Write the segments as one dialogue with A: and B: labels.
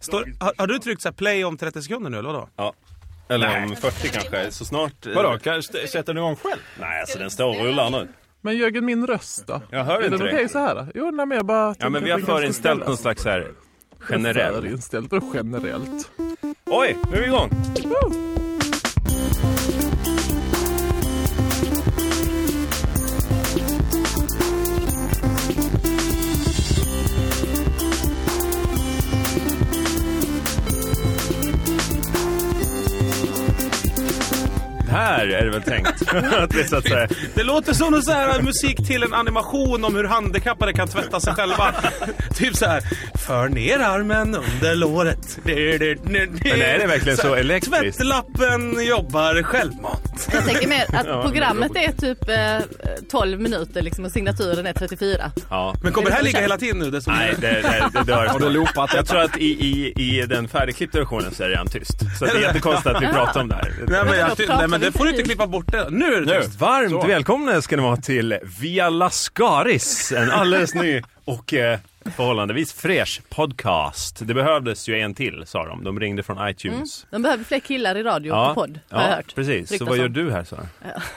A: Står, har, har du tryckt så här play om 30 sekunder nu eller vadå?
B: Ja. Eller om 40 kanske, så snart... eh,
C: Vadå, kan, st- sätter ni igång själv?
B: Nej, alltså den står och rullar nu.
D: Men Jörgen, min röst då?
B: Jag hör
D: är
B: inte
D: den
B: dig.
D: okej så här? Jo, nej, men jag bara...
B: Ja, men vi har förinställt någon slags så här generell.
D: Förinställt, vadå generellt?
B: Oj, nu är vi igång! Här är det väl tänkt att det är så att säga...
A: Det låter som någon så här musik till en animation om hur handikappade kan tvätta sig själva. typ så här. För ner armen under låret. Men
B: är det verkligen så elektriskt?
A: Tvättlappen jobbar självmant.
E: Jag tänker mer att programmet är typ eh, 12 minuter liksom, och signaturen är 34.
B: Ja.
A: Men kommer det här ligga hela tiden nu? Desto
B: Nej,
A: mer?
B: det, det, det dör.
C: Har du loopat
B: Jag tror att i, i, i den färdigklippta versionen så är det redan tyst. Så det är jättekonstigt att vi pratar om det här.
A: Nej men, jag,
E: vadå, pratar
A: nej, men
E: vi
A: det
E: inte
A: får du
E: nu?
A: inte klippa bort det. Nu är det
B: Nu,
A: tyst.
B: varmt välkomna ska ni vara till Via Lascaris, en alldeles ny och eh, förhållandevis fräsch podcast. Det behövdes ju en till, sa de. De ringde från iTunes.
E: De behöver fler killar i radio och Mm. podd har jag hört.
B: precis. Så
E: Ryktas
B: vad gör
E: om.
B: du här, Sara?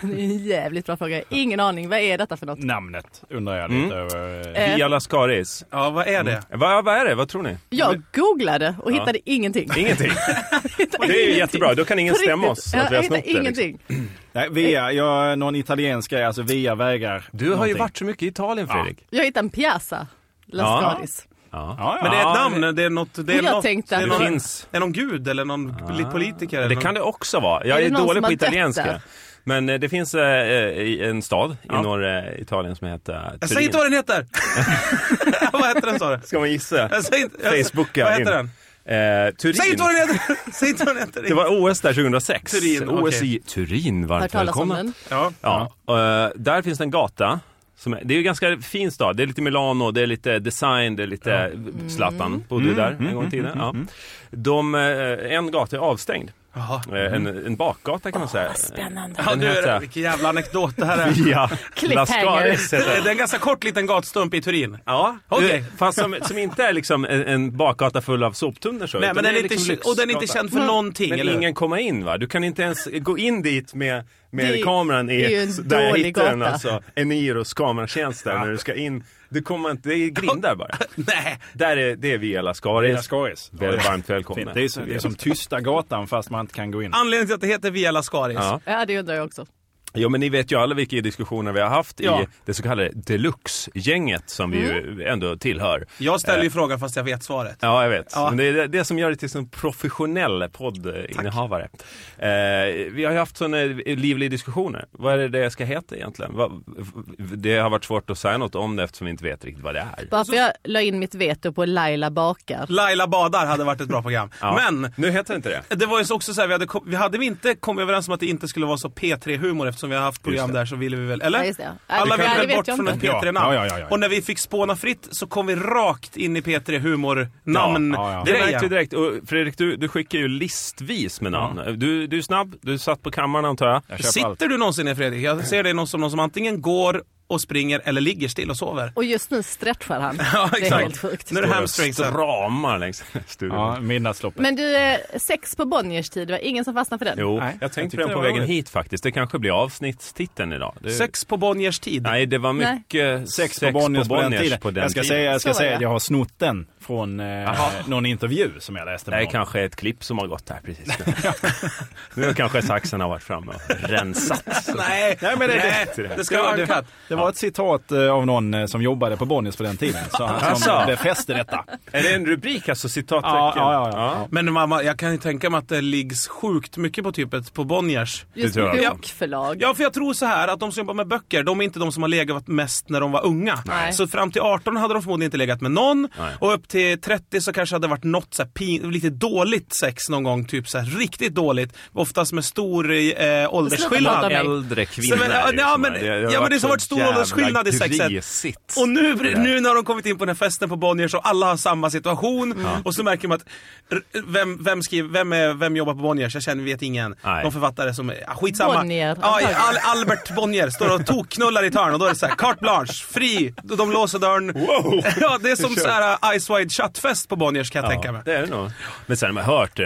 E: Det är en jävligt bra fråga. Ingen aning. Vad är detta för
B: Mm.
E: något?
C: Namnet undrar jag lite över.
E: Eh,
B: Via Lascaris.
A: Ja, vad är det?
B: Vad, vad är det? Vad tror ni?
E: Jag googlade och
B: Ja.
E: hittade ingenting.
B: Ingenting.
E: Hittade
B: Det är ju
E: ingenting.
B: jättebra. Då kan ingen
E: På riktigt.
B: stämma oss
E: Ja,
B: att vi har
E: jag
B: snott
E: hittade
B: det. liksom.
E: ingenting.
C: Nej, via, jag, någon italiensk grej, alltså via vägar.
B: Du har ju varit så mycket i Italien, Fredrik.
E: Jag hittade en Piazza Lascaris.
B: Ja.
C: Ja, ja.
A: Men det är ett namn, det är något... Det är
E: Och jag
A: något,
E: tänkte att-
A: det är
B: Det
A: någon,
B: finns.
A: är någon gud eller någon ah. politiker? Eller
B: Det kan
A: någon,
B: det också vara. Jag
E: Är
B: är,
E: det någon
B: dålig
E: som
B: på
E: har
B: italienska.
E: dött
B: Men eh, det finns eh, i en stad i norra Italien som heter
A: Säg inte vad den heter! vad heter den sa du?
B: Ska man gissa?
A: Jag säger inte- jag-
B: Facebooka
A: Vad
B: in.
A: heter den?
B: Eh, Turin.
A: Säg inte vad den heter! Säg inte vad den heter!
B: Det var OS där 2006.
A: Turin,
B: OS
A: okej.
B: i Turin, varmt
E: Hört talas om
B: välkomna.
E: den.
A: Ja.
B: Ja, eh, där finns det en gata. Som är, det är ju en ganska fin stad. Det är lite Milano, det är lite design, det är lite Zlatan
A: Mm.
B: bodde ju där en gång i tiden. Ja. De, eh, en gata är avstängd.
A: Jaha.
B: Eh, En, en bakgata kan man säga.
E: Spännande.
A: Ja,
B: Den
A: nu är det,
B: heter-
A: vilken jävla anekdot det här är.
B: Ja,
E: Cliffhanger.
B: Lascaris heter den.
A: Det är en ganska kort liten gatstump i Turin.
B: Ja,
A: Okej.
B: du, fast som, som inte är liksom en, en bakgata full av soptunnor så.
A: Nej,
B: utan
A: men
B: det
A: den är inte,
B: liksom
A: kä- och den är inte
B: lyxgata.
A: känd för någonting.
B: Men
A: eller hur?
B: ingen kommer in va? Du kan inte ens gå in dit med, med
E: Det är-
B: kameran i,
E: det är ju en
B: där jag
E: dålig
B: hittade den
E: gata.
B: alltså. Eniros kameratjänst där när du ska in. Du kommer inte, det är grindar bara.
A: Nej.
B: Där är, det är Via Lascaris.
C: Via Lascaris.
B: Väl- Varmt välkomna.
C: Fint. Det är, som, det är som tysta gatan fast man inte kan gå in.
A: Anledningen till att det heter Via Lascaris.
B: Ja.
E: Ja, det undrar jag också.
B: Ja men ni vet ju alla vilka diskussioner vi har haft i
A: Ja.
B: det så kallade deluxe-gänget som vi ju ändå tillhör.
A: Jag ställer ju frågan fast jag vet svaret.
B: Eh. Ja, jag vet.
A: Ja.
B: Men det är det- det som gör det till en professionell poddinnehavare. Eh, vi har ju haft sådana livliga diskussioner. Vad är det det ska heta egentligen? Vad- det har varit svårt att säga något om det eftersom vi inte vet riktigt vad det är.
E: Bara för jag la in mitt veto på Laila bakar.
A: Laila badar hade varit ett bra program.
B: Ja.
A: Men
B: Nu heter det inte det.
A: det var ju också så här, vi hade, kom- vi hade vi inte kommit överens om att det inte skulle vara så P3-humor eftersom vi har haft program där så ville vi väl, eller?
E: Ja, just det. Ja,
A: Alla
E: det
A: ville
E: kan- Ja, det
A: väl
E: vet
A: bort
E: jag
A: från ett
E: inte.
A: P3-namn.
C: Ja, ja, ja, ja.
A: Och när vi fick spåna fritt så kom vi rakt in i P3-humor-namn.
C: Ja, ja, ja.
B: Direkt, direkt. Och Fredrik, du, du skickar ju listvis med namn. Du, du är snabb, du satt på kammaren antar jag.
C: Jag köper allt.
A: Sitter du någonsin ner Fredrik? Jag ser dig någon som, någon som antingen går och springer eller ligger still och sover.
E: Och just nu stretchar han.
A: Ja,
E: Det är
A: exakt.
E: helt sjukt.
A: Nu är det hamstringsen.
B: Stramar längs studion.
C: Ja, midnattsloppet.
E: Men du, eh, sex på Bonniers tid, det var ingen som fastnade för den.
B: Jo,
C: Nej,
B: jag
C: jag
B: tänkte
C: tyckte
B: på den
C: det
B: på
C: var
B: vägen
C: roligt.
B: hit faktiskt. Det kanske blir avsnittstiteln idag. Det...
A: Sex på Bonniers tid.
B: Nej, det var
E: Nej.
B: mycket
C: Sex på Bonniers på den tiden. jag ska säga, jag, ska
E: Så
C: säga
E: var
C: att
E: det.
C: jag har snott den från eh, någon intervju som jag läste.
B: Det
C: med
B: är
C: någon.
B: kanske ett klipp som har gått här precis nu. nu kanske saxen har varit framme och rensat. Så.
A: Nej,
C: Nej, men det-
A: det, ska vara
C: det, var,
A: uncut.
C: det var ett citat eh, av någon eh, som jobbade på Bonniers på den tiden. Så han som
B: Alltså.
C: befäste detta.
B: Är det en rubrik, alltså citattecken?
C: Ja, ja, ja, ja.
A: Men mamma, jag kan ju tänka mig att det liggs sjukt mycket på typet på Bonniers.
E: Just
B: det tror jag.
E: bokförlag.
A: Ja, för jag tror så här att de som jobbar med böcker, de är inte de som har legat mest när de var unga.
E: Nej.
A: Så fram till 18 hade de förmodligen inte legat med någon.
B: Nej.
A: Och upp till 30 så kanske hade det varit något så här pin- lite dåligt sex någon gång. Typ så här riktigt dåligt. Oftast med stor eh,
E: prata
A: åldersskillnad.
E: om mig.
B: Äldre kvinnor.
A: Så, men, ja,
B: liksom.
A: ja, men-
B: har
A: ja, men det
B: så
A: har varit stor
B: jävla
A: åldersskillnad i sexet.
B: grisigt.
A: Och nu, nu när de kommit in på den här festen på Bonniers och alla har samma situation och så märker man att r- vem, vem, skriver, vem, är, vem jobbar på Bonniers? Jag känner, vet ingen.
B: Nej.
A: Någon författare som, är- ah, skitsamma.
E: Bonnier.
A: Ja, Al, Albert Bonnier står och tokknullar i ett hörn och då är det så här, carte blanche, fri, de låser dörren.
B: Wow!
A: Ja, det är som så här uh, Ice White inside chattfest på Bonniers kan jag tänka mig.
B: det är det nog. Men sen har man hört eh,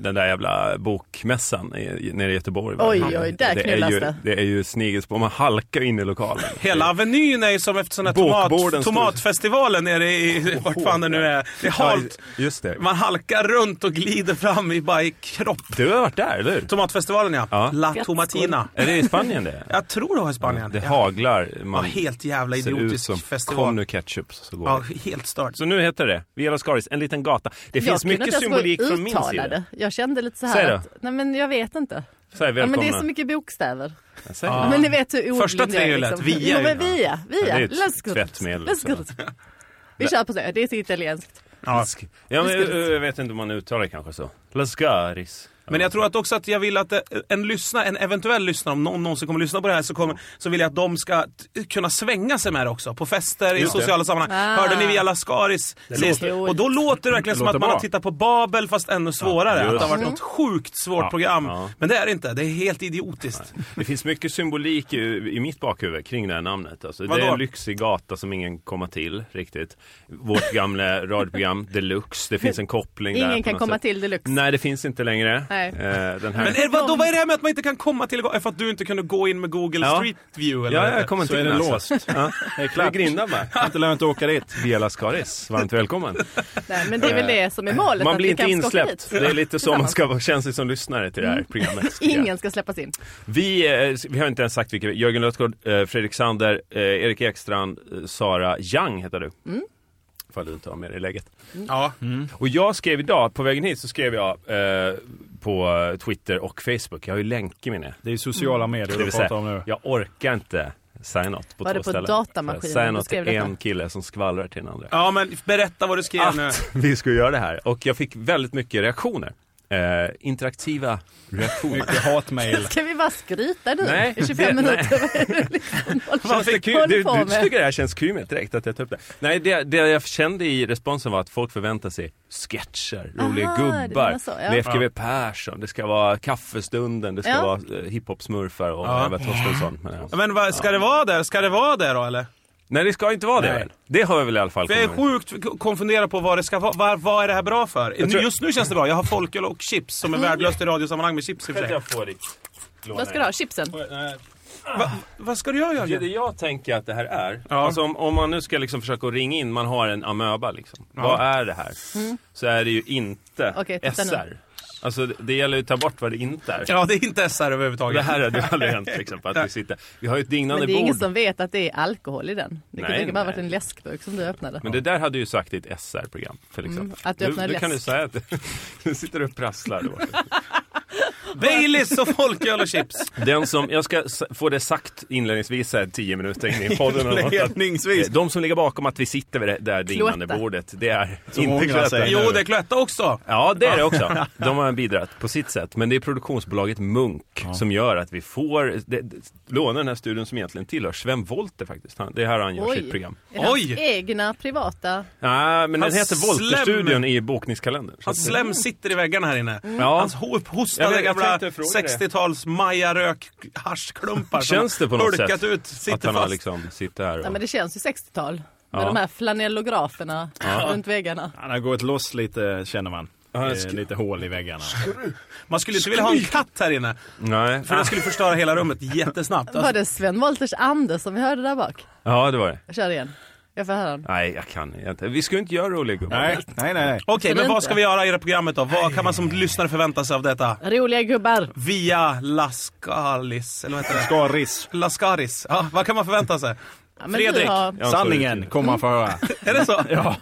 B: den där jävla bokmässan i, nere i Göteborg. va?
E: Oj, oj, där
B: det är
E: knullas
B: ju,
E: det.
B: det är ju snigelspår, man halkar in i lokalen.
A: Hela Avenyn är ju som efter sån här
B: Bokborden
A: tomat,
B: står-
A: tomatfestivalen nere i, vart fan det nu är. Det är halt.
B: Ja, Just det.
A: Man halkar runt och glider fram i bara i kropp.
B: Du har varit där, eller hur?
A: Tomatfestivalen ja.
B: Ja.
A: La
E: Grattis.
A: Tomatina.
B: Är det i Spanien det?
A: Jag tror det var i Spanien.
B: Det
A: Ja.
B: haglar.
A: Ja,
B: Man
A: helt jävla
B: ser ut som,
A: idiotisk
B: kom
A: festival.
B: nu ketchup så går
A: Ja,
B: det.
A: helt stört.
B: Så nu heter det Via Lascaris, en liten gata. Det finns mycket symbolik från min sida.
E: det. Jag kände lite så
B: Säg
E: här
B: då.
E: att, nej men jag vet inte.
B: Säg
E: Ja, men
B: välkomna.
E: det är så mycket bokstäver.
B: Jag säger
A: Ja.
B: det.
E: Men ni vet hur ordlig
A: Första
E: jag är, liksom.
A: tre är lätt. Via
E: Jo,
A: är
E: men
A: ju-
E: via,
B: Ja,
E: via.
B: det är ett
E: Let's go.
B: tvättmedel,
E: Let's go. Vi kör på det, det är så italienskt.
A: Ja.
B: Ja, men, eh, jag, jag vet inte om man uttalar det kanske så. Lascaris.
A: Men jag tror att också att jag vill att eh, en lyssnare, en eventuell lyssnare, om någon någonsin kommer lyssna på det här, så, kommer, så vill jag att de ska t- kunna svänga sig med det också. På fester, i
B: Just det.
A: sociala sammanhang.
E: Ah.
A: Hörde ni via Lascaris sist?
E: låter-
A: Och då låter det verkligen som
C: Låter
A: att man har
C: bra.
A: tittat på Babel fast ännu svårare. att
B: Ja,
A: det har varit
B: just
A: något sjukt svårt
B: Ja,
A: program.
B: ja.
A: Men det är det inte. Det är helt idiotiskt.
B: Det finns mycket symbolik i, i mitt bakhuvud kring det här namnet. Alltså, det
A: Vadå?
B: är en lyxig gata som ingen kommer till riktigt. Vårt gamla radioprogram Deluxe, det finns en koppling där. på
E: Ingen kan
B: något
E: komma
B: sätt.
E: till deluxe.
B: Nej, det finns inte längre.
E: Nej.
B: Eh, den här...
A: Men är, vad, då, vad är det här med att man inte kan komma till Är För att du inte kunde gå in med Google
B: Ja.
A: Street View? Eller?
B: Ja, jag kommer
C: Så
B: inte
C: är
B: in
C: den
B: alltså.
C: låst.
B: Ja.
C: Det är
B: Det är
C: klart.
B: grinda bara.
C: Inte lönt att åka dit.
B: Via Lascaris, varmt välkommen.
E: Nej, men det är väl det som är målet.
B: Man
E: att
B: blir
E: vi
B: inte
E: kan skaka
B: insläppt.
E: dit.
B: Det är lite så man ska vara- känns det som lyssnare till det här programmet. tycker jag.
E: Ingen ska släppas in.
B: Vi, eh, vi har inte ens sagt vilka vi Jörgen Lötgård, eh, Fredrik Sander, eh, Erik Ekstrand, eh, Sara Young heter du.
E: Mm.
B: Ifall du inte har med dig i läget. Mm.
A: Ja.
B: Och jag skrev idag, på vägen hit så skrev jag eh, på eh, Twitter och Facebook, jag har ju länk i mina.
C: Det är sociala medier
B: Det
C: du
B: vill
C: pratar om
B: säga,
C: nu.
B: jag orkar inte säga något på
E: Var
B: två
E: det på
B: ställen.
E: datamaskinen
B: Säga
E: du
B: något
E: skrev
B: till
E: detta?
B: en kille som skvallrar till den andra
A: ja, men berätta vad du skrev nu.
B: att vi skulle göra det här. Och jag fick väldigt mycket reaktioner. Eh, interaktiva reaktioner.
C: Mycket hatmejl.
E: Ska vi bara skryta nu
B: Nej,
E: i 25
B: det-
E: minuter? Vad är det liksom
B: Känns det
E: folk
B: kul?
E: håller
B: Du,
E: på
B: du
E: med?
B: tycker det här känns kul direkt att jag tar upp det. Nej, det, det jag kände i responsen var att folk förväntar sig sketcher, roliga
E: Aha, det
B: gubbar,
E: menar så, ja.
B: Leif GW Persson, det ska vara kaffestunden, det ska
E: Ja.
B: vara eh, hiphop-smurfar och
A: Ja.
B: Eva Torstensson. Men, ja.
A: Ja, Men vad, ska det vara där? Ska det vara där då eller?
B: Nej, det ska inte vara det
C: Nej.
B: väl? Det har vi väl i alla fall
A: För jag är
B: kommit ihåg.
A: sjukt k- konfunderad på vad det ska vara. Vad, vad är det här bra för?
B: Jag tror-
A: Just nu känns det bra. Jag har folköl och chips som är värdelöst i radiosammanhang med chips i och för sig.
B: få ditt lån
E: Vad ska du ha? Chipsen?
B: här?
A: Va, vad ska du göra
B: Det, det
A: Jörgen?
B: jag tänker att det här är,
A: Ja.
B: alltså om, om man nu ska liksom försöka att ringa in, man har en amöba liksom. Vad är det här? Så är det ju inte
E: Mm. Okej, titta nu.
B: SR. Alltså det, det gäller ju att ta bort vad det inte är.
A: Ja, det är inte SR
B: Det
A: överhuvudtaget.
B: här hade ju aldrig hänt liksom, för att vi sitter. Vi har ju ett dignande
E: Men det är ingen
B: bord.
E: som vet att det är alkohol i den. Det kan
B: Nej,
E: lika bara
B: nej.
E: varit en läskburk som du öppnade.
B: Men det där hade ju sagt i ett SR-program till exempel.
E: Mm, att du
B: nu,
E: öppnar
B: nu kan du
E: läsk.
B: säga att du sitter du och prasslar. Då.
A: Baileys och folköl och chips.
B: Den som, jag ska s- få det sagt inledningsvis här tio minuter in i podden. eller något, att,
C: Ledningsvis.
B: eh, De som ligger bakom att vi sitter vid det där dignande
E: Cloetta.
B: bordet, det är
C: Som
B: inte
C: ångrar
B: Cloetta.
C: sig.
A: Jo, det är Cloetta också.
B: Ja, det är det också. De har bidragit på sitt sätt. Men det är produktionsbolaget Munk som gör att vi får det, det, låna den här studion som egentligen tillhör Sven Wolter faktiskt. Han, det är här han gör sitt program.
E: Är det
A: Oj!
E: hans egna privata...
B: Nej, men
A: Hans
B: den heter Wolterstudion i bokningskalendern. Så
A: Hans
B: att-
A: slem sitter i väggarna här inne.
B: Mm. Ja.
A: Hans ho- hostade
B: Jag vet, jag
A: gamla
B: tänkte fråga det.
A: 60-tals majarök-haschklumpar som
B: Känns det på något
A: hulkat
B: sätt
A: ut, sitter
B: att han har
A: fast.
B: liksom sitter här
E: Ja,
B: och...
E: men det känns ju 60-tal. Med
B: Ja.
E: de här flanellograferna runt väggarna.
C: Han har gått loss lite känner man.
B: Ja, jag
C: Eh,
B: ska-
C: Lite hål i väggarna.
A: Man skulle inte vilja ha en katt här inne,
B: Nej.
A: för den skulle förstöra hela rummet jättesnabbt.
E: Var det Sven Wolters ande som vi hörde där bak?
B: Ja, det var det.
E: Jag kör igen. Jag får höra den.
B: Nej, jag kan inte. Vi ska ju inte göra roliga gubbar.
C: Nej, nej, nej. nej.
A: Alltså. Okej,
E: Ska
A: men
E: vi
A: vad
E: inte?
A: ska vi göra i det här programmet då? Vad kan man som lyssnare förvänta sig av detta?
E: Roliga gubbar.
A: Via Lascaris, eller vad heter det?
C: Skaris.
A: Lascaris. Ja, vad kan man förvänta sig?
E: Ja, men
A: Fredrik.
E: Du har...
B: Jag har en större
A: typ.
C: Sanningen
B: tid.
C: kommer man få höra.
A: Är det så?
C: Ja.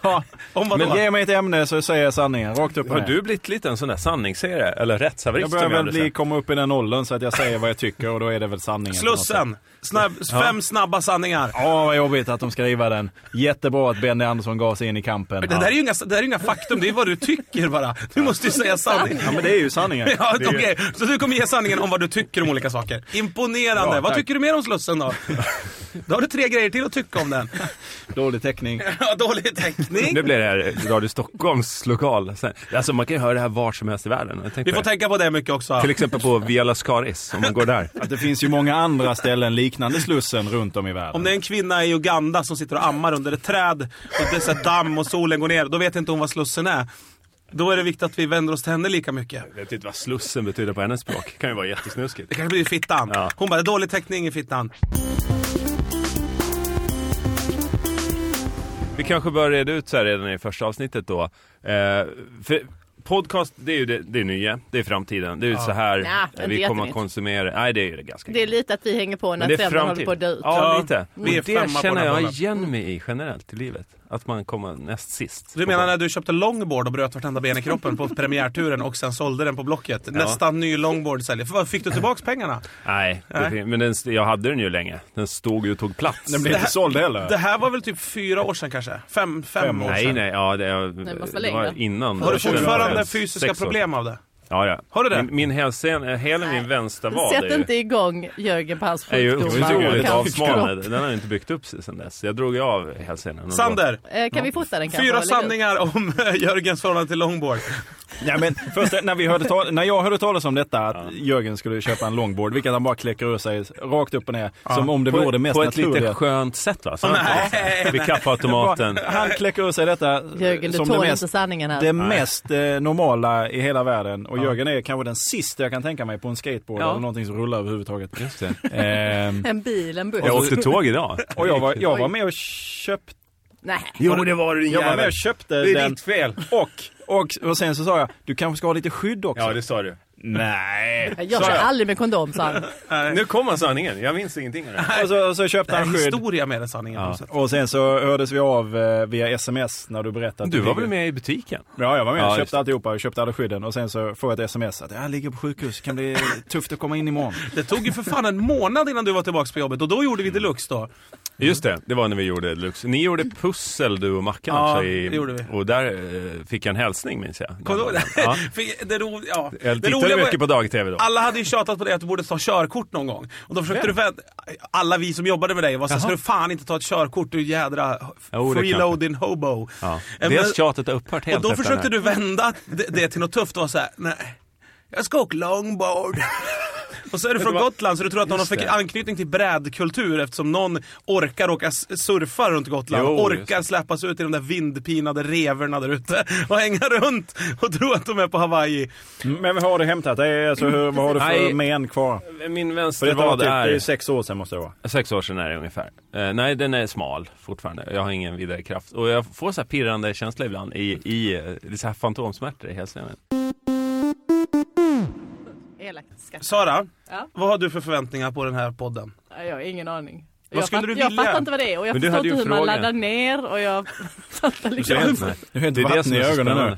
A: Om vad
C: Men
A: då?
C: ge mig ett ämne så säger jag sanningen. Rakt upp och
B: Har
C: ner.
B: du blivit lite en sån där sanningssägare? Eller rättshaverist?
C: Jag
B: som
C: börjar väl
B: aldrig
C: bli,
B: sett?
C: komma upp i den åldern så att jag säger vad jag tycker och då är det väl sanningen. på något sätt.
A: Slussen. Snabb, fem snabba sanningar.
C: Ja, vad jobbigt att de ska riva den. Jättebra att Benny Andersson gav sig in i kampen.
A: Det där är ju inga, det där är ju inga faktum, det är vad du tycker bara. Du måste ju säga sanningen.
C: Ja, men det är ju sanningen.
A: Ja, okej. Så du kommer ge sanningen om vad du tycker om olika saker. Imponerande.
C: Bra,
A: vad
C: tack.
A: tycker du mer om Slussen då? Då har du tre grejer till att tycka om den.
C: Dålig täckning.
A: Ja, dålig täckning.
B: Nu blir det här Radio Stockholms lokal. Sen- Alltså man kan ju höra det här var som helst i världen. Jag tänkte
A: Vi får
B: det.
A: tänka på det mycket också.
B: Till exempel på Via Lascaris, om man går där.
C: Att det finns ju många andra ställen liknande Slussen runt om i världen.
A: Om det är en kvinna i Uganda som sitter och ammar under ett träd och det är så här damm och solen går ner, då vet inte hon vad Slussen är. Då är det viktigt att vi vänder oss till henne lika mycket.
B: Jag vet inte vad Slussen betyder på hennes språk. kan ju vara jättesnuskigt.
A: Det kanske blir fittan.
B: Ja.
A: Hon bara, dålig täckning i fittan.
B: Vi kanske bör reda ut så här redan i första avsnittet då. Eh, för podcast, det är ju det, det är nya, det är framtiden. Det är ju så här
E: Nja, men det
B: vi
E: är
B: kommer att
E: jättenytt.
B: konsumera. Nej, det är ju det ganska
E: Det är lite att vi hänger på när trenden håller på att dö ut.
B: Ja,
A: Ja,
B: lite.
A: vi är
B: Och
A: femma på
B: det känner
A: den
B: jag
A: bollen.
B: igen mig i generellt i livet. Att man kommer näst sist.
A: Du menar när du köpte longboard och bröt vartenda ben i kroppen på premiärturen och sen sålde den på Blocket? Nästan ny longboard säljer. För vad, fick du tillbaks pengarna?
B: Nej, det
A: Nej.
B: fin- men den, st- jag hade den ju länge. Den stod ju och tog plats.
C: Den blir inte såld heller.
A: Det här var väl typ fyra år sedan kanske? Fem, fem,
C: Fem
A: år sedan?
B: Nej, nej, ja, det, jag,
E: det måste vara
B: det var
E: längre.
B: innan.
A: Har du
B: Jag känner
A: fortfarande
B: mig
A: fysiska
B: sex år.
A: problem av det?
B: Ja, ja.
A: Har du det?
B: Min, min hälsen, eh, hela min vänstra vad
E: Sätt
B: är ju-
E: inte igång Jörgen på hans
B: är ju
E: sjukdomar. och
B: otroligt
E: cancerkropp.
B: avsmalnad. Den har ju inte byggt upp sig sedan dess. Jag drog ju av hälsenan. och
A: Sander,
E: Eh, Kan vi fota den kanske?
A: fyra
E: och lägga upp?
A: sanningar om Jörgens förhållande till longboard.
C: Nej, men först när, vi hörde tal- när jag hörde talas om detta att Jörgen skulle köpa en longboard, vilket han bara kläcker ur sig rakt upp och ner. Som om det
B: då-
C: vore det mest
B: På ett
C: naturliga.
B: lite skönt sätt va? Så nej, Vid kaffeautomaten.
C: Han kläcker ur sig detta
A: eh,
E: Jörgen, du
C: som det
E: tål
C: mest,
E: inte sanningen här.
C: det mest eh, normala i hela världen. Och Jörgen är kanske den sista jag kan tänka mig på en skateboard
B: Ja.
C: eller någonting som rullar överhuvudtaget. Just Ehm,
E: En bil, en buss.
B: Jag åkte tåg idag.
C: och jag var, jag var med och köpte
E: Nej.
B: Jo, det var du din
C: jag var med
B: jävel.
C: och köpte
B: Det är
C: den
B: ditt fel.
C: och, och, och sen så sa jag, du kanske ska ha lite skydd också.
B: Ja, det sa du.
C: Nej.
E: Jag kör aldrig med kondom, sa han.
B: Nu kommer sanningen. Jag minns ingenting av det.
C: Och så, så köpte
A: Det är
C: han skydd.
A: historia med den sanningen. på något sätt.
C: Och sen så hördes vi av eh, via sms när du berättade. att
B: Du var
C: ligger-
B: väl med i butiken?
C: Ja, jag var med.
B: Ja,
C: Jag
B: just
C: köpte
B: det.
C: alltihopa, jag köpte alla skydden och sen så får jag ett sms att jag ligger på sjukhus, kan bli tufft att komma in imorgon.
A: Det tog ju för fan en månad innan du var tillbaka på jobbet och då gjorde vi deluxe då.
B: Just det, det var när vi gjorde Lux. Ni gjorde pussel du och Mackan
A: Ja,
B: också.
A: det gjorde vi.
B: Och där eh, fick jag en hälsning minns jag.
A: Kommer du ihåg det?
B: Ja.
A: För det, ro, ja. det
B: Jag tittade
A: roliga var-
B: mycket på dag-tv då.
A: Alla hade ju tjatat på dig att du borde ta körkort någon gång. Och då försökte du vända... Alla vi som jobbade med dig var såhär, ska du fan inte ta ett körkort du jädra
B: Jo, det är
A: freeloading hobo.
B: Ja.
A: Eh,
B: Dels
A: men-
B: tjatet har upphört helt
A: och då
B: efter
A: försökte
B: den här.
A: du vända det, det till något tufft och var såhär, nej, jag ska åka longboard. Och så är du från Gotland så du tror att någon har
B: Just
A: fick
B: det.
A: anknytning till brädkultur eftersom någon orkar åka s- surfa runt Gotland.
B: Jo,
A: och
B: just
A: orkar släppas ut i de där vindpinade reverna där ute och hänga runt och tro att de är på Hawaii.
C: Mm, Men vad har du hämtat? Det är, alltså, hur, vad har du för
B: Nej.
C: men kvar?
B: Min
C: För
B: vänster
C: detta var
B: vad
C: typ, det är ju
B: är...
C: sex år sedan måste det vara.
B: Sex år sedan är det ungefär. Eh, nej, den är smal fortfarande. Jag har ingen vidare kraft. Och jag får så här pirrande känsla ibland i, i eh, det är så här fantomsmärtor i hälsenan.
E: Elakt skatt.
A: Sara,
E: Ja.
A: vad har du för förväntningar på den här podden?
E: Nej, Jag har ingen aning.
A: Vad
E: jag,
A: skulle du
E: jag
A: vilja?
E: fattar inte vad det är och jag
B: Men du
E: förstår
B: hade ju
E: inte hur man
B: frågan.
E: laddar ner och jag fattar liksom inte.
C: Du har
B: Det är det som är så spännande.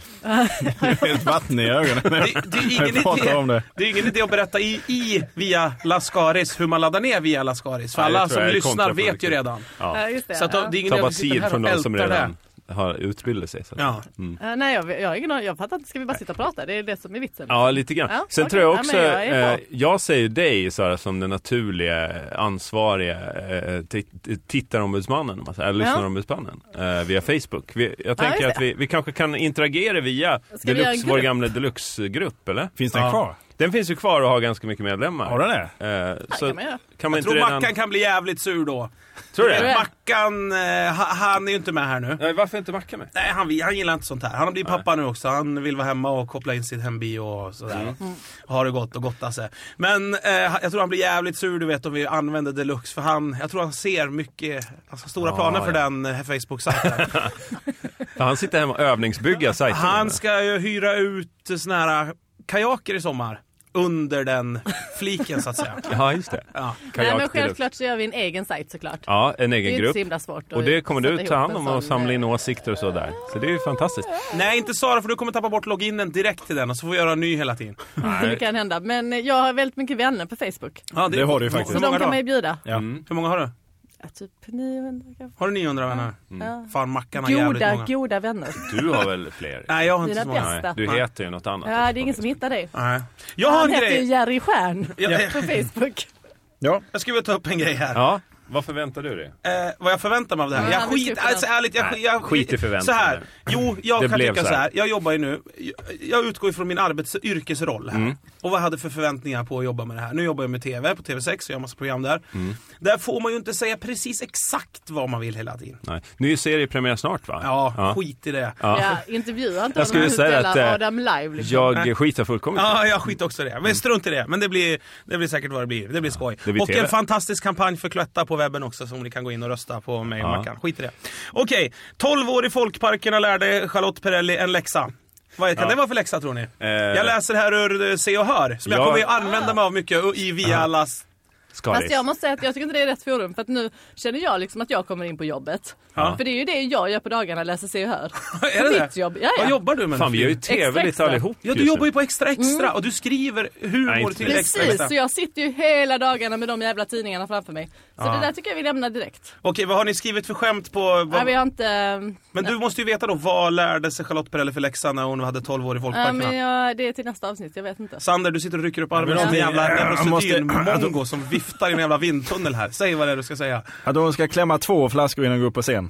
C: Det är ett vatten i ögonen.
A: Det, det, är ingen
C: Jag pratar om
A: idé,
C: det.
A: det är ingen idé att berätta i, i via Lascaris hur man laddar ner via Lascaris. För
B: Nej, det
A: alla
B: tror
A: som
B: jag är
A: lyssnar vet ju
B: kontraproduktivt.
A: redan.
B: Ja.
E: Ja, just det.
A: Så att
E: ja.
A: det är ingen idé
B: Ta bara
A: att vi sitter
B: tid
A: här
B: från
A: och
B: de som
A: ältar det.
B: redan har utbildat sig. Så. att-
A: Ja.
B: Mm.
E: Eh, nej, jag, jag har ingen aning. Jag fattar inte. Ska vi bara sitta och prata? Det är det som är vitsen.
B: Ja, lite grann.
E: Ja,
B: Sen
E: okej.
B: tror jag
E: Ja,
B: också,
E: men jag är
B: eh, jag säger dig Sara som den naturliga eh, ansvariga eh, tit- tittarombudsmannen, om man säger, eller
E: Ja.
B: lyssnarombudsmannen, eh, via Facebook. Vi, jag tänker
E: just
B: att vi, vi kanske kan interagera via
E: vi göra en
B: Deluxe, vår
E: grupp?
B: gamla Deluxe-grupp, eller?
C: Finns den kvar?
B: Den finns ju kvar och har ganska mycket medlemmar.
C: Har den det?
B: Eh, så
E: kan man göra.
B: kan man
A: Jag
B: inte
A: tror
B: redan...
A: Mackan kan bli jävligt sur då.
B: Tror du
E: Tror du
B: det?
E: det?
A: Mackan, eh, ha- han är ju inte med här nu.
B: Nej, varför inte Mackan med?
A: Nej, han, han gillar inte sånt här. Han har blivit pappa nu också. Han vill vara hemma och koppla in sitt hembio och
B: Mm.
A: sådär. Har det gott och gotta sig. Men eh, jag tror han blir jävligt sur du vet om vi använder deluxe. För han, jag tror han ser mycket, alltså stora
B: Ah,
A: planer för
B: ja.
A: den eh, Facebook-sajten.
B: Ja, Han sitter hemma och övningsbygger sajten.
A: han ska ju hyra ut såna här kajaker i sommar. Under den fliken så att säga.
B: Ja, just det.
A: Ja.
E: Nej, men
B: Kajak till-
E: självklart så gör vi en egen sajt såklart.
B: Ja, en
E: det är
B: egen
E: inte
B: grupp.
E: så himla svårt.
B: Och det kommer du
E: sätta
B: ta hand
E: ihop en
B: om och
E: sån,
B: samla in
E: eh,
B: åsikter och så där. Så det är ju fantastiskt.
A: Nej, inte Sara för du kommer tappa bort loginen direkt till den och så får vi göra en ny hela tiden.
E: Det kan hända. Men eh, jag har väldigt mycket vänner på Facebook.
A: Ja,
C: Det har du ju faktiskt.
E: Så
A: Hur
E: de
A: många,
E: kan man
A: då?
E: ju bjuda.
C: Ja.
B: Mm.
A: Hur många har du?
E: Ja, typ 900 kanske.
A: Har du 900 vänner?
B: Mm.
E: Ja.
A: Fan, Mackan har Mm. jävligt
E: Goda,
A: många.
E: goda vänner.
B: Du har väl fler?
A: Nej, jag har inte
E: Dina
A: så många.
E: bästa.
B: Nej, du heter ju något annat.
E: Ja, det är ingen som hittar dig.
A: Nej. Jag har
E: Han
A: en
E: heter ju
A: grej.
E: Jerry Stjärn
A: Jag,
E: på Facebook.
C: Ja.
A: jag skulle vilja ta upp en grej här.
B: Ja, Vad förväntar du dig?
A: Eh, vad jag förväntar mig av det här.
E: Ja,
A: Jag
E: han vill
A: skit,
E: slippa
A: alltså, ärligt, jag,
B: Nej,
A: skit- jag,
B: skit i förväntan
A: Så här.
B: nu.
A: Jo, jag
B: Det
A: kan
B: blev
A: tycka så
B: så
A: här.
B: här.
A: Jag jobbar ju nu. Jag, jag utgår ifrån min arbets, yrkesroll här.
B: Mm.
A: Och vad jag hade för förväntningar på att jobba med det här. Nu jobbar jag med TV på TV6 och jag har massa program där.
B: Mm.
A: Där får man ju inte säga precis exakt vad man vill hela tiden.
B: Nej. Ny seriepremiär snart va?
A: Ja, skit i det.
B: Ja.
E: Ja, intervjua inte
B: Jag skulle
E: honom,
B: säga
E: spela
B: att, eh,
E: Adam live liksom.
B: Jag skiter fullkomligt i det.
A: Ja, jag skit också i det. Men strunt i det. Men det blir, det blir säkert vad det blir. Det blir skoj.
B: det blir
A: och
B: TV.
A: en fantastisk kampanj för Cloetta på webben också som ni kan gå in och rösta på mig och
B: Ja.
A: Mackan. Skit i det. Okej, 12 år i folkparkerna lärde Charlotte Perrelli en läxa. Vad kan det vara för läxa tror ni? Jag läser här ur eh, Se och Hör, som jag
B: Eh, Ja.
A: kommer att använda mig av mycket och i via allas...
B: Skaris.
E: Fast jag måste säga att jag tycker inte det är rätt forum för att nu känner jag liksom att jag kommer in på jobbet.
A: Ja.
E: För det är ju det jag gör på dagarna, läser Se och Hör.
A: Är det det?
E: Mitt jobb, ja, ja.
A: Vad jobbar du med?
B: Fan vi gör ju
E: Extra,
B: tv lite
E: extra.
B: allihop
A: Ja, du
B: just
A: jobbar
B: nu.
A: ju på Extra Extra och du skriver
B: Nej,
A: humor
B: inte
A: till
B: riktigt.
A: Extra liksom. Extra.
E: Precis, så jag sitter ju hela dagarna med de jävla tidningarna framför mig. Så
A: Ja.
E: det där tycker jag vi lämnar direkt.
A: Okej, vad har ni skrivit för skämt på...
E: Nej,
A: Vad...
E: vi har inte... eh,
A: Men du måste ju veta då, vad lärde sig Charlotte Perrelli för läxa när hon hade 12 år i
E: Ja,
A: folkparkerna?
E: men jag, det är till nästa avsnitt, jag vet inte.
A: Sander, du sitter och rycker upp armen
C: men
A: som en
C: någonting-
A: jävla
C: jag måste- alltså-
A: neprosedynmongo som viftar i en jävla vindtunnel här. Säg vad det är du ska säga.
C: Att hon ska klämma två flaskor innan hon går upp på scen.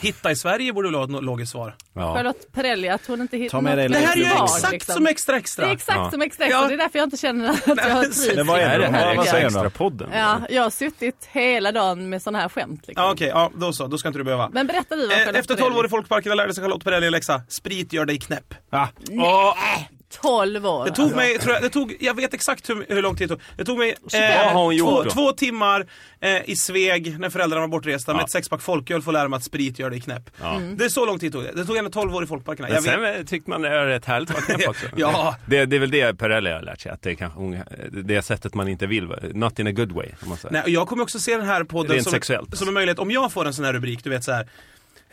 A: Hitta i Sverige borde du ha ett no- logiskt svar.
B: Ja.
E: Charlotte Perrelli, att hon inte hittar
C: Ta med dig
A: Det
C: Det
A: här är ju
E: barn,
A: exakt
E: liksom.
A: som Extra Extra.
E: Det är exakt
B: Ja.
E: som extra
A: Ja.
E: extra, det är därför jag inte känner att jag har trivs.
C: Men vad
B: Är det här
E: Ja,
B: extra,
C: säger
B: extra
C: de?
B: podden?
E: Ja, jag har suttit hela dagen med sådana här skämt. Liksom.
A: Ja, Okej, ja, då så. Då ska inte du behöva.
E: Men berätta du vad
A: Eh,
E: Charlotte
A: Efter 12 år
E: Perrelli-
A: i folkparkerna lärde sig Charlotte Perrelli en läxa. Sprit gör dig knäpp.
C: Ah,
E: 12 år. Alltså,
A: Det tog mig, tror jag, det tog, jag vet exakt hur, hur lång tid det tog. Det tog mig eh,
B: Vad har hon
A: två,
B: gjort då?
A: två timmar eh, i Sveg när föräldrarna var bortresta med ett sexpack folköl för att lära mig att sprit gör dig knäpp. Det är så lång tid tog det. Det tog ändå 12 år i folkparkerna.
B: Men
A: Jag vet-
B: sen eh, tyckte man det var rätt härligt att vara knäpp också.
A: Ja.
B: det, det är väl det Perrelli har lärt sig, att det är kanske, hon- det är sättet man inte vill, va? not in a good way. Om man säger.
A: Nej, och jag kommer också se den här podden
B: Rent
A: som,
B: sexuellt.
A: som en möjlighet. Om jag får en sån här rubrik, du vet så här.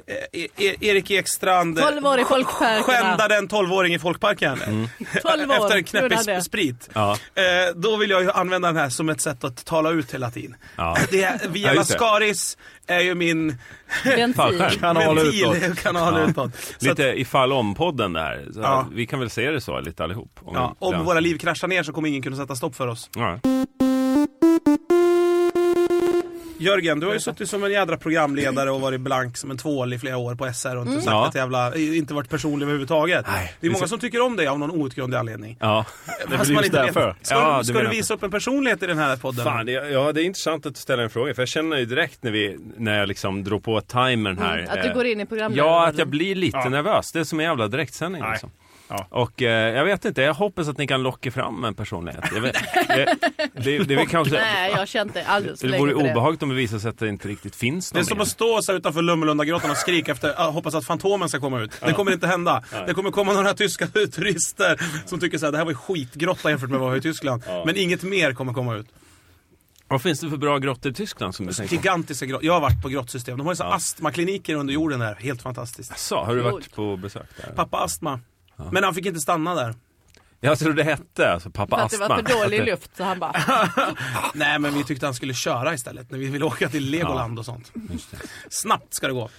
A: eh, E- e Erik Ekstrand eh,
E: 12 år i folkparkerna.
A: skändade en 12-åring i folkparken.
B: Mm.
E: 12 år.
A: Efter en
E: gjorde
A: knäppig
E: han det.
A: sp- sprit.
B: Ja.
A: Eh, då vill jag ju använda den här som ett sätt att tala ut hela tiden.
B: Ja.
A: Det är, via
B: Ja, just det.
A: Lascaris är ju min
E: Bensin.
C: Kanal
A: ventil,
C: utåt.
A: kanal utåt. Så att,
B: Lite ifall om-podden där. Så
A: Ja.
B: Vi kan väl se det så lite allihop. Om,
A: ja, om
B: den-
A: våra liv kraschar ner så kommer ingen kunna sätta stopp för oss.
B: Ja.
A: Jörgen, du har ju suttit som en jädra programledare och varit blank som en tvål i flera år på SR och inte sagt
B: Mm. Ja.
A: ett jävla, inte varit personlig överhuvudtaget.
B: Nej.
A: det är många som tycker om dig av någon outgrundlig anledning.
B: ja.
A: Det
C: väl just därför.
A: Ska,
B: Ja,
A: du-
B: du
A: ska du
B: menar
A: visa upp en personlighet i den här podden?
B: Fan, det, ja, det är intressant att ställa en fråga. För jag känner ju direkt när, vi, när jag liksom drog på timern här.
E: Mm, att du
B: eh,
E: går in i programmet.
B: Ja, att jag blir lite nervös. Det är som en jävla direktsändning. Liksom.
C: Ja.
B: Och eh, jag vet inte, jag hoppas att ni kan locka fram en personlighet. Jag vet, det, det, det, är väl kanske,
E: Nej, jag har känt det alldeles för
B: det
E: länge
B: vore
E: för det.
B: obehagligt om det visar sig att det inte riktigt finns
A: Det är
B: någon
A: som
B: mer.
A: att stå så här utanför Lummelundagrottan och skrika efter, ah, hoppas att Fantomen ska komma ut. Det kommer inte hända. Det kommer komma några tyska turister som tycker så här, det här var ju skitgrotta jämfört med vad det var i Tyskland. Men inget mer kommer komma ut.
B: Vad finns det för bra grottor i Tyskland som du
A: Alltså,
B: tänker på?
A: Gigantiska grottor. Jag har varit på grottsystem. De har ju så här astmakliniker under jorden där. Helt fantastiskt.
B: Så, har du varit på besök där?
A: Pappa astma. Men han fick inte stanna där.
B: Jag tror det hette alltså pappa
E: För att det
B: astma.
E: var för dålig
B: Att det-
E: luft så han bara,
A: Nej, men vi tyckte han skulle köra istället. När vi ville åka till Legoland och sånt. Snabbt ska det gå.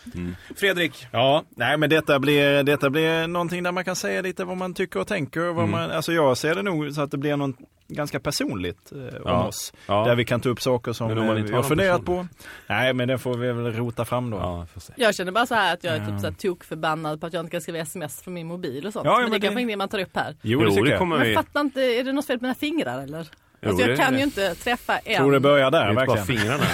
A: Fredrik,
C: Ja, nej men detta blir, detta blir någonting där man kan säga lite vad man tycker och tänker. och Vad
B: Mm.
C: man, alltså jag ser det nog så att det blir något ganska personligt eh, om
B: Ja.
C: oss.
B: Ja.
C: Där vi kan ta upp saker som
B: Men om man
C: eh,
B: inte
C: vi
B: har någon
C: har funderat på. Nej men den får vi väl rota fram då. Ja.
B: Ja, vi får se.
E: jag känner bara så här att jag är typ så här tokförbannad på att jag inte kan skriva sms från min mobil och sånt.
C: Ja, ja,
E: men, det
C: men
E: är kanske
C: det-
E: ingenting man tar upp här.
C: Jo, det tycker jag.
B: kommer
E: Men
B: vi.
E: jag fattar inte, är det något fel på mina fingrar eller?
B: Jo,
E: alltså
B: det är
E: jag kan
B: det.
E: ju inte träffa en.
C: Tror det börjar
B: Det
C: där
B: är inte bara
C: verkligen.
B: fingrarna.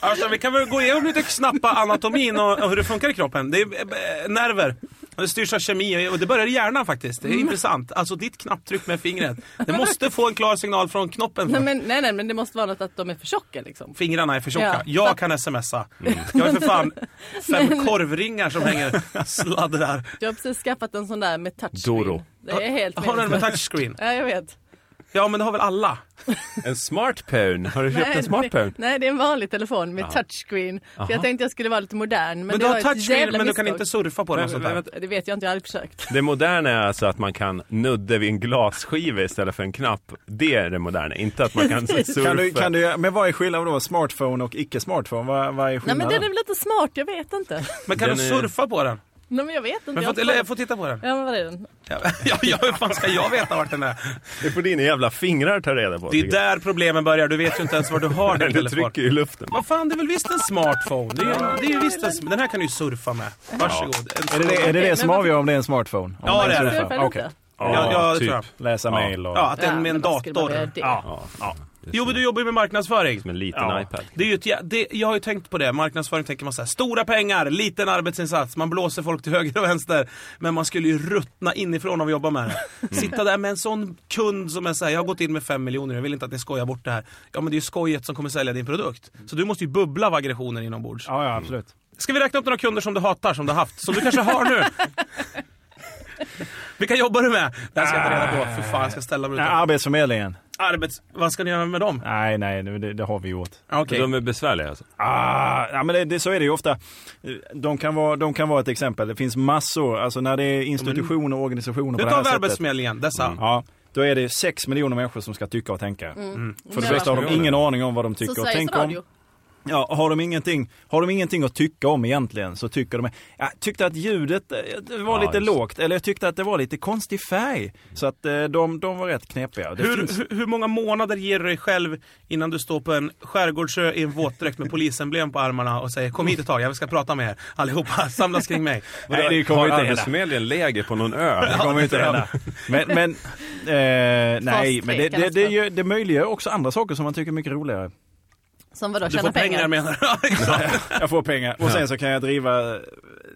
A: alltså, vi kan väl gå igenom lite snabba anatomin och, och hur det funkar i kroppen. Det är eh, nerver. Och det styrs av kemi och det börjar i hjärnan faktiskt.
E: Mm.
A: Det är intressant. Alltså ditt knapptryck med fingret. Det måste få en klar signal från knoppen.
E: Nej, men, nej, nej, men det måste vara något att de är för tjocka liksom.
A: Fingrarna är för tjocka.
E: Ja. Mm.
A: Jag kan smsa. Jag är för fan fem korvringar som hänger sladdrar.
E: Jag har precis skaffat en sån där med touchscreen.
B: Doro.
E: Det är helt
A: Har den med touchscreen?
E: Ja, jag vet.
A: Ja, men det har väl alla?
B: En smartphone. Har du köpt en
E: det,
B: smartphone?
E: nej, det är en vanlig telefon med touchscreen. För jag tänkte jag skulle vara lite modern. Men,
A: Men du
E: det var
A: har
E: ett
A: touchscreen
E: jävla
A: men du kan
E: misstag.
A: inte surfa på den och sånt
B: Men- men
A: där.
B: vänta.
E: Det vet jag inte, jag har aldrig försökt.
B: Det moderna är alltså att man kan nudda vid en glasskiva istället för en knapp. Det är det moderna, inte att man kan surfa.
C: Kan du, kan du, men vad är skillnaden då? Smartphone och icke smartphone? Vad, vad är
E: Nej
C: skillnaden?
E: men den är väl lite smart, jag vet inte.
A: Men kan
B: Den
A: du
B: är-
A: surfa på den?
E: Nej men jag vet inte.
A: Men får,
E: jag har
A: eller,
E: inte
A: jag får titta på den.
E: Ja men vad är den?
A: Ja, ja, hur fan ska jag veta vart den är?
B: Det får dina jävla fingrar ta reda på.
A: Det är
B: tycker jag.
A: där problemen börjar. Du vet ju inte ens var du har din
B: Du
A: telefon.
B: trycker i luften.
A: Vad fan, det är väl visst en smartphone? Det är, ju- det är ju visst en, sm- den här kan du ju surfa med. Varsågod. En-
C: Är det det, är det, det
E: men
C: som
E: varför-
C: avgör om det är en smartphone? Om
A: Ja, det
C: en
A: är det.
C: surfare?
E: Surfar du inte?
C: Okej.
A: Ja, ja, det
B: typ.
A: tror jag.
C: Läsa mail och...
A: Ja, att den med en
E: men vad skulle man göra
A: dator.
E: det?
B: Ja, ja.
A: Jo, men du jobbar ju med marknadsföring.
B: Som en liten
C: Ja.
B: iPad.
A: Det är ju ett, jä- det, jag har ju tänkt på det, marknadsföring tänker man så här, stora pengar, liten arbetsinsats, man blåser folk till höger och vänster. Men man skulle ju ruttna inifrån av att jobba med
C: Mm.
A: det. Sitta där med en sån kund som är såhär, jag har gått in med fem miljoner, jag vill inte att ni skojar bort det här. Ja men det är ju skojet som kommer sälja din produkt. Så du måste ju bubbla av aggressionen inombords.
C: Ja, ja, absolut.
A: Ska vi räkna upp några kunder som du hatar, som du har haft, som du kanske har nu? Vilka jobbar du med? Det här ska jag ta reda
C: Ah.
A: på. För fan, jag ska ställa mig
C: Nej,
A: utanför.
C: Arbetsförmedlingen.
A: Arbets... Vad ska ni göra med dem?
C: Nej, nej, nu- det, det har vi gjort.
A: Ah, Okej.
B: De är besvärliga alltså.
C: Ah, ja, men det, det, så är det ju ofta. De kan, vara, de kan vara ett exempel. Det finns massor. Alltså när det är institutioner och organisationer
A: Nu
C: på
A: tar
C: det
A: vi
C: här sättet. Mm.
A: Arbetsförmedlingen, dessa.
C: Ja, då är det sex miljoner människor som ska tycka och tänka. För det
E: Men
C: första har de
E: varför?
C: ingen aning om vad de tycker
E: Mm. Så
C: och
E: Sveriges
C: tänker om.
E: Radio.
C: Ja, har, de ingenting, har de ingenting att tycka om egentligen så tycker de... Jag tyckte att ljudet eh, det var
B: Ja,
C: lite
B: just det.
C: lågt eller jag tyckte att det var lite konstig färg. Så att eh, de, de var rätt knepiga. Det
A: Hur,
C: finns-
A: hur, hur många månader ger du dig själv innan du står på en skärgårdsö i en våtdräkt med polisemblem på armarna och säger kom hit ett tag, jag ska prata med er allihopa, samlas kring mig.
C: Nej, det kommer
B: Har
C: inte hända.
B: Arbetsförmedlingen läger på någon ö?
C: Det kommer ju inte hända. Men, men, eh, nej, men det, det, det, gör, det möjliggör också andra saker som man tycker är mycket roligare.
E: Som vadå,
A: Du
E: tjäna
A: får pengar,
E: pengar?
A: menar du? Ja, exakt.
C: Jag får pengar och sen så kan jag driva eh,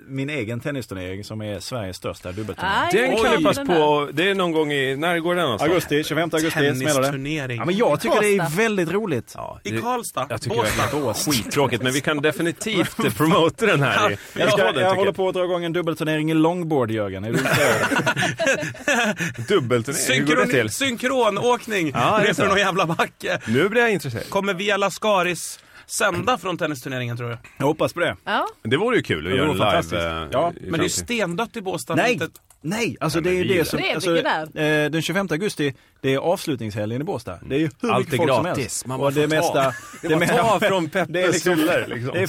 C: min egen tennisturnering som är Sveriges största dubbelturnering.
E: Aj,
B: Den
E: oj,
B: kan du
E: oj,
B: passa
E: den
B: på. Det är någon gång i... När går den någonstans?
C: Augusti, 25 augusti smäller det.
A: Tennisturnering.
C: Ja, men jag tycker det är
E: Karlstad.
C: väldigt roligt.
B: Ja,
A: I
B: det-
A: Karlstad,
B: Jag tycker
A: Båstad.
B: det verkar skittråkigt men vi kan definitivt promota den här i
C: Jag,
B: i
C: ska,
B: podden,
C: jag
B: tycker
C: håller på att dra igång en dubbelturnering i longboard Jörgen. Är du intresserad?
B: Dubbelturnering, hur går det till?
A: Synkron, synkronåkning
B: Ja, det är
A: nerför
B: så.
A: någon jävla backe.
B: Nu blir jag intresserad.
A: Kommer Via Lascaris sända från tennisturneringen tror du?
C: Jag hoppas på det.
E: Ja,
B: Det vore ju kul att
C: Det
B: göra
C: vore
B: live.
C: fantastiskt.
B: eh,
C: Ja,
A: Men det är
B: i
A: ju
B: framtiden.
A: stendött i Båstad.
C: Nej,
A: Inte-
C: nej, alltså det är ju
B: men vi
C: det som...
E: gillar det.
C: Alltså,
E: Trevligt
C: eh, den 25 augusti, det är avslutningshelgen i Båstad. Det är ju hur
B: Mm. Allt
C: mycket
B: är
C: folk som
B: gratis.
C: helst.
B: Man bara
C: och det
B: får ta.
C: mesta...
B: Det är ta
C: mesta-
B: från Peppes
C: det är liksom-
B: hyllor, liksom.
C: Det är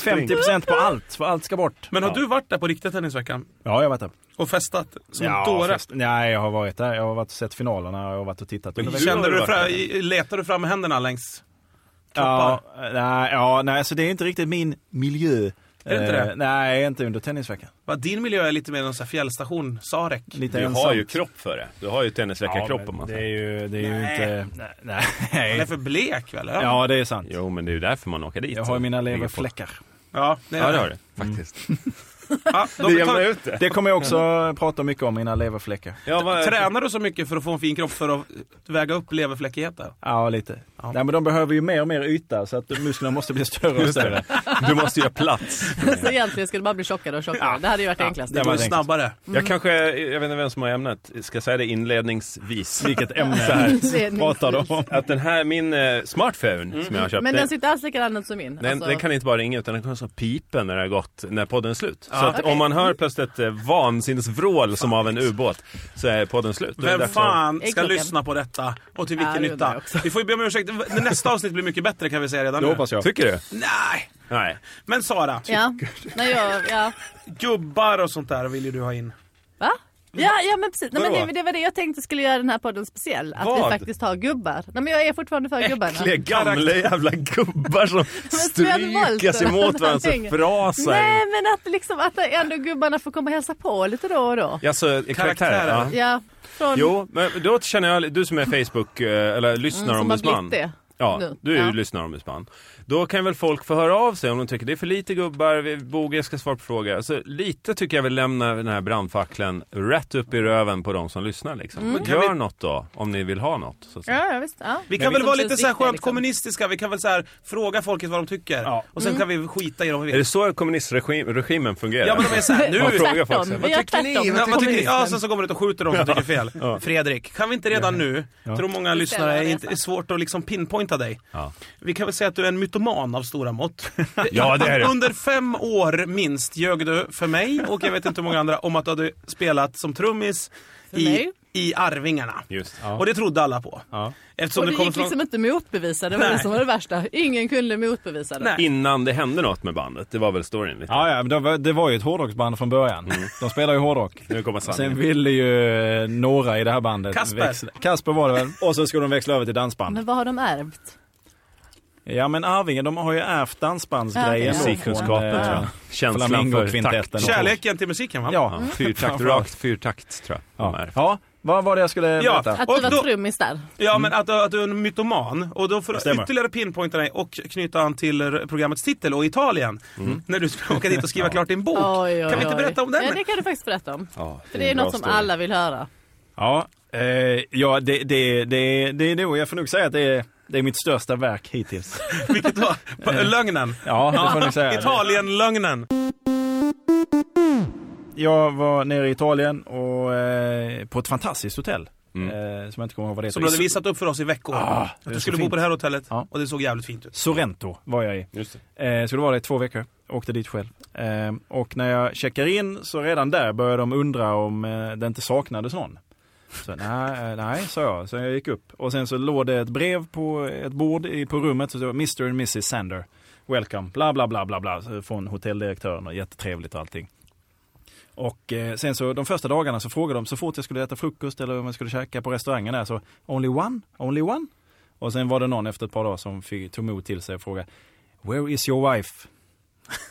C: 50% på allt, för allt ska bort.
A: Men har du varit där på riktigt Tennisveckan?
C: Ja, jag har varit där.
A: Och festat som en dåre?
C: fast- Nej, jag har varit där. Jag har varit och sett finalerna och jag har varit och tittat.
B: Men
C: under
B: du-
C: veckan.
A: Kände du
B: har
A: fra,
B: varit
A: letar du fram med händerna längs
C: ja,
A: kroppar?
C: nej, ja, nej, så det är inte riktigt min miljö. Eh,
A: Är det inte det?
C: nej, inte under tennisveckan.
A: Va, Din miljö är lite mer en sån här fjällstation, Sarek.
C: Lite
B: Du
C: ensam.
B: har ju kropp för det. Du har ju tennisläkarkropp om man
C: det är
B: säger.
C: ju, det är ju
A: Nej.
C: inte... Nej.
A: Han är
C: nej.
A: för blek väl? eller?
C: Ja, det är sant.
B: Jo, men det är ju därför man åker dit.
C: Jag har ju mina
B: Ligger på.
C: leverfläckar. Mm.
A: ja, nej,
B: Ja, det har du. Faktiskt.
A: Ja,
B: Det
A: de
B: jämnar
A: tar,
B: ut det.
C: Det kommer jag också prata mycket om, mina leverfläckar.
B: Ja, vad-
A: tränar du så mycket för att få en fin kropp för att väga upp leverfläckigheten?
C: Ja, lite.
A: Ja.
C: Nej, men de behöver ju mer och mer yta så att musklerna måste bli större och
B: Just
C: större.
B: det. Du måste göra plats.
E: så egentligen skulle man bli tjockare och tjockare. Det hade ju varit det enklaste.
A: Det
C: var
A: går ju
C: enkelt.
A: snabbare.
E: Mm.
B: Jag kanske, jag vet inte vem som har ämnet, ska säga det inledningsvis. Vilket ämne? Så här,
E: Inledningsvis. Mm.
C: Pratar de om.
B: att den här, min eh, smartphone som jag har köpt,
E: Men den
B: den,
E: ser inte alls likadan ut som min.
B: den,
E: Alltså,
B: den kan inte bara ringa utan den kommer så pipa när det har gått, när podden är slut. så
A: Ja.
B: att om man hör plötsligt ett eh, vansinnesvrål som av en ubåt så är podden slut. Då är det
A: Vem
B: dags att-
A: fan
E: Är
A: ska
E: klockan?
A: lyssna på detta och till vilken
E: Ja, det undrar jag
A: nytta?
E: också.
A: Vi får ju be om ursäkt. Nästa avsnitt blir mycket bättre kan vi säga redan
C: Det
A: nu.
C: hoppas jag.
B: Tycker du?
A: Nej,
B: Nej.
A: men Sara.
E: Ja. Nej, jag, ja.
A: Gubbar och sånt där vill ju du ha in.
E: Va? Ja, ja men precis. Nej, men
B: Vadå?
E: det, det var det jag tänkte skulle göra den här podden speciell. Att
B: Vad?
E: vi faktiskt har gubbar. Nej men jag är fortfarande för gubbarna.
B: Äckliga gamla jävla gubbar som
E: Sven Wollter,
B: strykas emot varandra så
E: någonting.
B: frasar.
E: Nej men att liksom att ändå gubbarna får komma och hälsa på lite då och då.
B: Ja, så, eh, karaktärer.
A: Karaktärer.
B: Ja.
E: Ja. Från,
B: Jo, men då känner jag, du som är Facebook, eh, eller lyssnarombudsman.
E: Mm, som har blivit det
B: Ja,
E: nu.
B: du är ju
E: Ja.
B: lyssnarombudsman. Då kan väl folk få höra av sig om de tycker det är för lite gubbar, vi- Boge ska svara på frågor. Alltså, lite tycker jag vill lämna den här brandfacklan rätt upp i röven på de som lyssnar liksom.
E: Mm.
A: kan
B: Gör
A: vi-
B: något då, om ni vill ha något. Så att säga.
E: Ja, ja visst. Ja.
A: Vi
E: Men
A: kan väl
E: som
A: vara
E: känns
A: lite så här
E: viktiga,
A: skönt
E: liksom.
A: kommunistiska, vi kan väl så här fråga folket vad de tycker.
C: Ja.
A: Och
E: Mm.
A: sen kan vi skita i dem vad vi
B: Är
A: vill.
B: det så kommunistregimen fungerar?
A: Ja men de är såhär,
B: Man
A: nu...
B: frågar folk
E: Tvärtom.
B: så här,
E: Vi
B: vad
E: gör
B: tycker ni?
E: tvärtom.
A: Ja, vad tycker ni?
E: Kommunismen.
A: ja, sen så går man ut och skjuter dem som tycker fel. Fredrik, kan vi inte redan nu, tror många lyssnare, är
E: resa.
A: inte, är svårt att liksom pinpointa dig.
B: Ja.
A: Vi kan väl säga att du är en mytoman av stora mått.
B: Ja, det är det.
A: Under fem år minst ljög du för mig och jag vet inte hur många andra om att du hade spelat som trummis
E: mig.
A: i i Arvingarna.
B: Just, ja.
A: Och det trodde alla på.
B: ja.
A: Eftersom
E: Och
A: det,
E: det
A: kommer
E: gick
A: från...
E: liksom inte motbevisa, det var
A: Nej.
E: det som var det värsta. Ingen kunde motbevisa det.
A: Nej.
B: Innan det hände något med bandet, det var väl storyn lite.
C: Ja, ja, men det var, det var ju ett hårdrocksband från början. De spelar ju hårdrock.
B: Nu kommer
C: Sen
B: sanningen.
C: ville ju eh, några i det här bandet
A: Kasper.
C: växla. Kasper var det väl. Och så skulle de växla över till dansband.
E: Men vad har de ärvt?
C: Ja men Arvingen de har ju ärvt dansbandsgrejen.
E: Ja,
C: då
B: Musikkunskapen
C: från, eh,
B: tror jag. Känslan för takt.
C: Flamingokvintetten.
A: Kärleken till musiken va?
C: Ja.
B: Ja, fyrtakt, rakt fyrtakt tror jag. de
C: Ja.
B: är.
C: ja, vad var det jag skulle
A: Ja.
C: berätta?
E: Att
A: Och
E: du var
A: då-
E: trummis där.
A: Ja, men att, att du är en mytoman. Och då får du
C: Mm. Det stämmer.
A: ytterligare pinpointa dig och knyta an till r- programmets titel och Italien.
C: Mm.
A: När du ska åka dit och skriva klart din bok.
E: Oj, oj,
A: kan vi inte
E: oj.
A: berätta om den?
E: Ja, det kan du faktiskt berätta om.
B: Ja,
E: För det är,
B: en bra
E: något som
B: story.
E: alla vill höra.
C: Ja, eh, ja det, det, det, det är nog, jag får nog säga att det är, det är mitt största verk hittills.
A: Vilket var på- lögnen.
C: Ja, det får jag nog säga.
A: Italien-lögnen.
C: Jag var nere i Italien och eh, på ett fantastiskt hotell. Eh, som jag inte kommer ihåg vad det
A: Som
C: heter.
A: du hade visat upp för oss i veckor.
C: Ah,
A: att
C: det är
A: du
C: så
A: skulle bo
C: fint.
A: på det här hotellet.
C: Ja.
A: Och det såg jävligt fint ut.
C: Sorrento var jag i.
B: Just det.
C: Eh, skulle vara där i två veckor. Åkte dit själv. Eh, och när jag checkar in så redan där började de undra om eh, det inte saknades någon. Så, nej, eh, nej, sa jag. Så jag gick upp. Och sen så låg det ett brev på ett bord i, på rummet. Så det var Mr and Mrs Sander. Welcome, bla bla bla bla bla. så Från hotelldirektören och jättetrevligt och allting. Och eh, sen så de första dagarna så frågade de så fort jag skulle äta frukost eller om jag skulle käka på restaurangen där så only one, only one. Och sen var det någon efter ett par dagar som fick, tog mod till sig och frågade Where is your wife?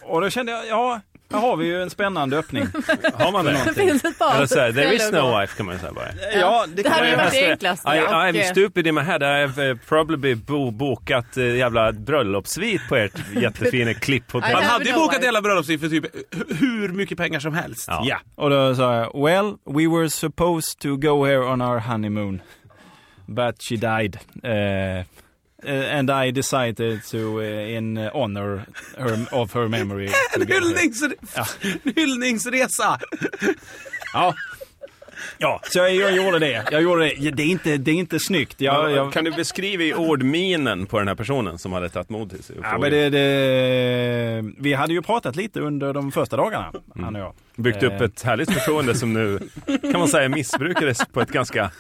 C: Och då kände jag, ja, här har vi ju en spännande öppning.
B: Har man
E: Det
B: det?
E: finns ett par
B: Eller så här,
E: ställen
B: there is
E: att gå.
B: no wife kan man ju säga bara.
E: Ja, det
C: kan
E: hade ju
C: man
E: varit
C: göra.
E: det enklaste.
B: I,
E: och,
B: I'm
E: eh,
B: stupid in my head. I have eh, probably bo bokat eh, jävla bröllopssvit på ert jättefina klipphotell.
E: I
A: Man
E: have
A: hade ju
E: no
A: bokat
E: wife.
A: hela bröllopsliv för typ hu- hur mycket pengar som helst.
B: Ja.
C: Ja, och då sa jag, well, we were supposed to go here on our honeymoon. But she died. Eh, eh, and I decided to, eh, in honor her, of her memory. to
A: En
C: go here."
A: hyllnings... hyllningsresa!
C: Ja. Ja, så jag, jag gjorde det. Jag gjorde det. Ja, Det är inte, det är inte snyggt. Jag, jag,
B: Kan du beskriva i ord minen på den här personen som hade tagit mod till sig? och
C: ja,
B: frågat?
C: men det, det, vi hade ju pratat lite under de första dagarna, han och jag.
B: Byggt upp ett härligt förtroende som nu kan man säga missbrukades på ett ganska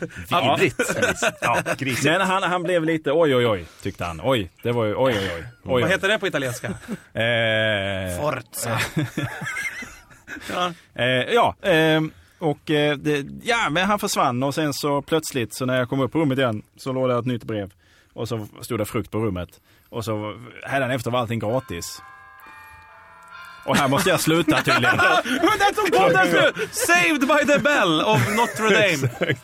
B: vidrigt vis. Ja, grisigt.
C: Men han, han blev lite oj oj oj tyckte han. Oj, det var ju oj oj oj. oj,
A: Vad
C: oj.
A: heter det på italienska?
C: Eh,
A: Forza. ja.
C: eh, ja, ehm, och eh, det, ja, men han försvann och sen så plötsligt så när jag kom upp på rummet igen så låg det ett nytt brev och så stod det frukt på rummet och så hädanefter var allting gratis. Och här måste jag sluta tydligen.
A: Men där tog podden slut! Saved by the bell of Notre Dame.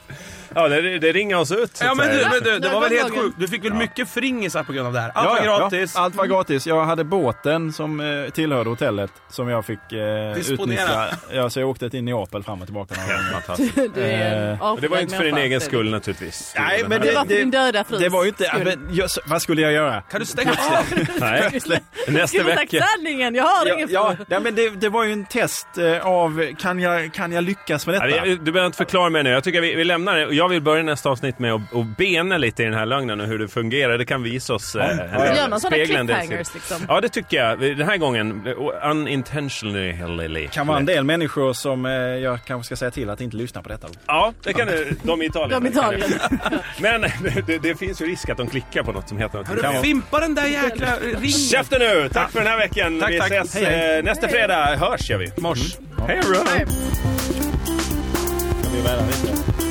B: Ja, det, det ringer oss ut. så
A: Ja
B: att
A: men du,
B: säga.
A: men du det
E: Där
A: var väl
E: kom
A: helt
E: dagen.
A: sjukt. Du fick väl mycket fringisar på grund av det här? Allt var gratis.
C: Ja, allt var gratis. Jag hade båten som eh, tillhörde hotellet som jag fick eh,
A: Disponera.
C: utnyttja. Ja, så jag åkte in i Neapel fram och tillbaka några gånger.
B: Fantastiskt.
E: Du är en
C: Eh,
B: Och det var ju inte för din
E: avskyvärd
B: egen
E: människa,
B: skull naturligtvis.
C: Nej, men
E: Det var för
C: Det-
E: din döda frus
C: Det var ju inte... ja,
E: skull.
C: Men, jag, vad skulle jag göra?
A: Kan du stänga av?
B: Nej. Nästa
E: Skulle sagt
B: vecka.
E: sanningen, jag har
C: Ja,
E: ingen
C: ja,
E: fru.
C: nej, men det, det var ju en test eh, av kan jag, kan jag lyckas med
B: Ja,
C: detta?
B: det- Du behöver inte förklara mer nu. Jag tycker vi, vi lämnar det. Och Jag vill börja nästa avsnitt med att att bena lite i den här lögnen och hur det fungerar. Det kan visa oss... eh, en del-
E: Gör man sådana
B: spegla en del sidor.
E: cliffhangers liksom?
B: Ja, det tycker jag. Den här gången, eh, unintentionally.
C: kan vara en del människor som eh, jag kanske ska säga till att inte lyssna på detta.
B: Ja, det kan du. De i Italien.
E: De i Italien.
B: Men det, det finns ju risk att de klickar på något som heter något.
A: Hörru,
C: vara.
A: fimpa den där jäkla ringen.
B: Käften nu! Tack för den här veckan.
A: Tack,
B: vi
A: tack.
B: ses
C: Hej, hej.
B: eh, nästa Mm. fredag. Hörs gör vi. Mors. Hej då!
E: Nej.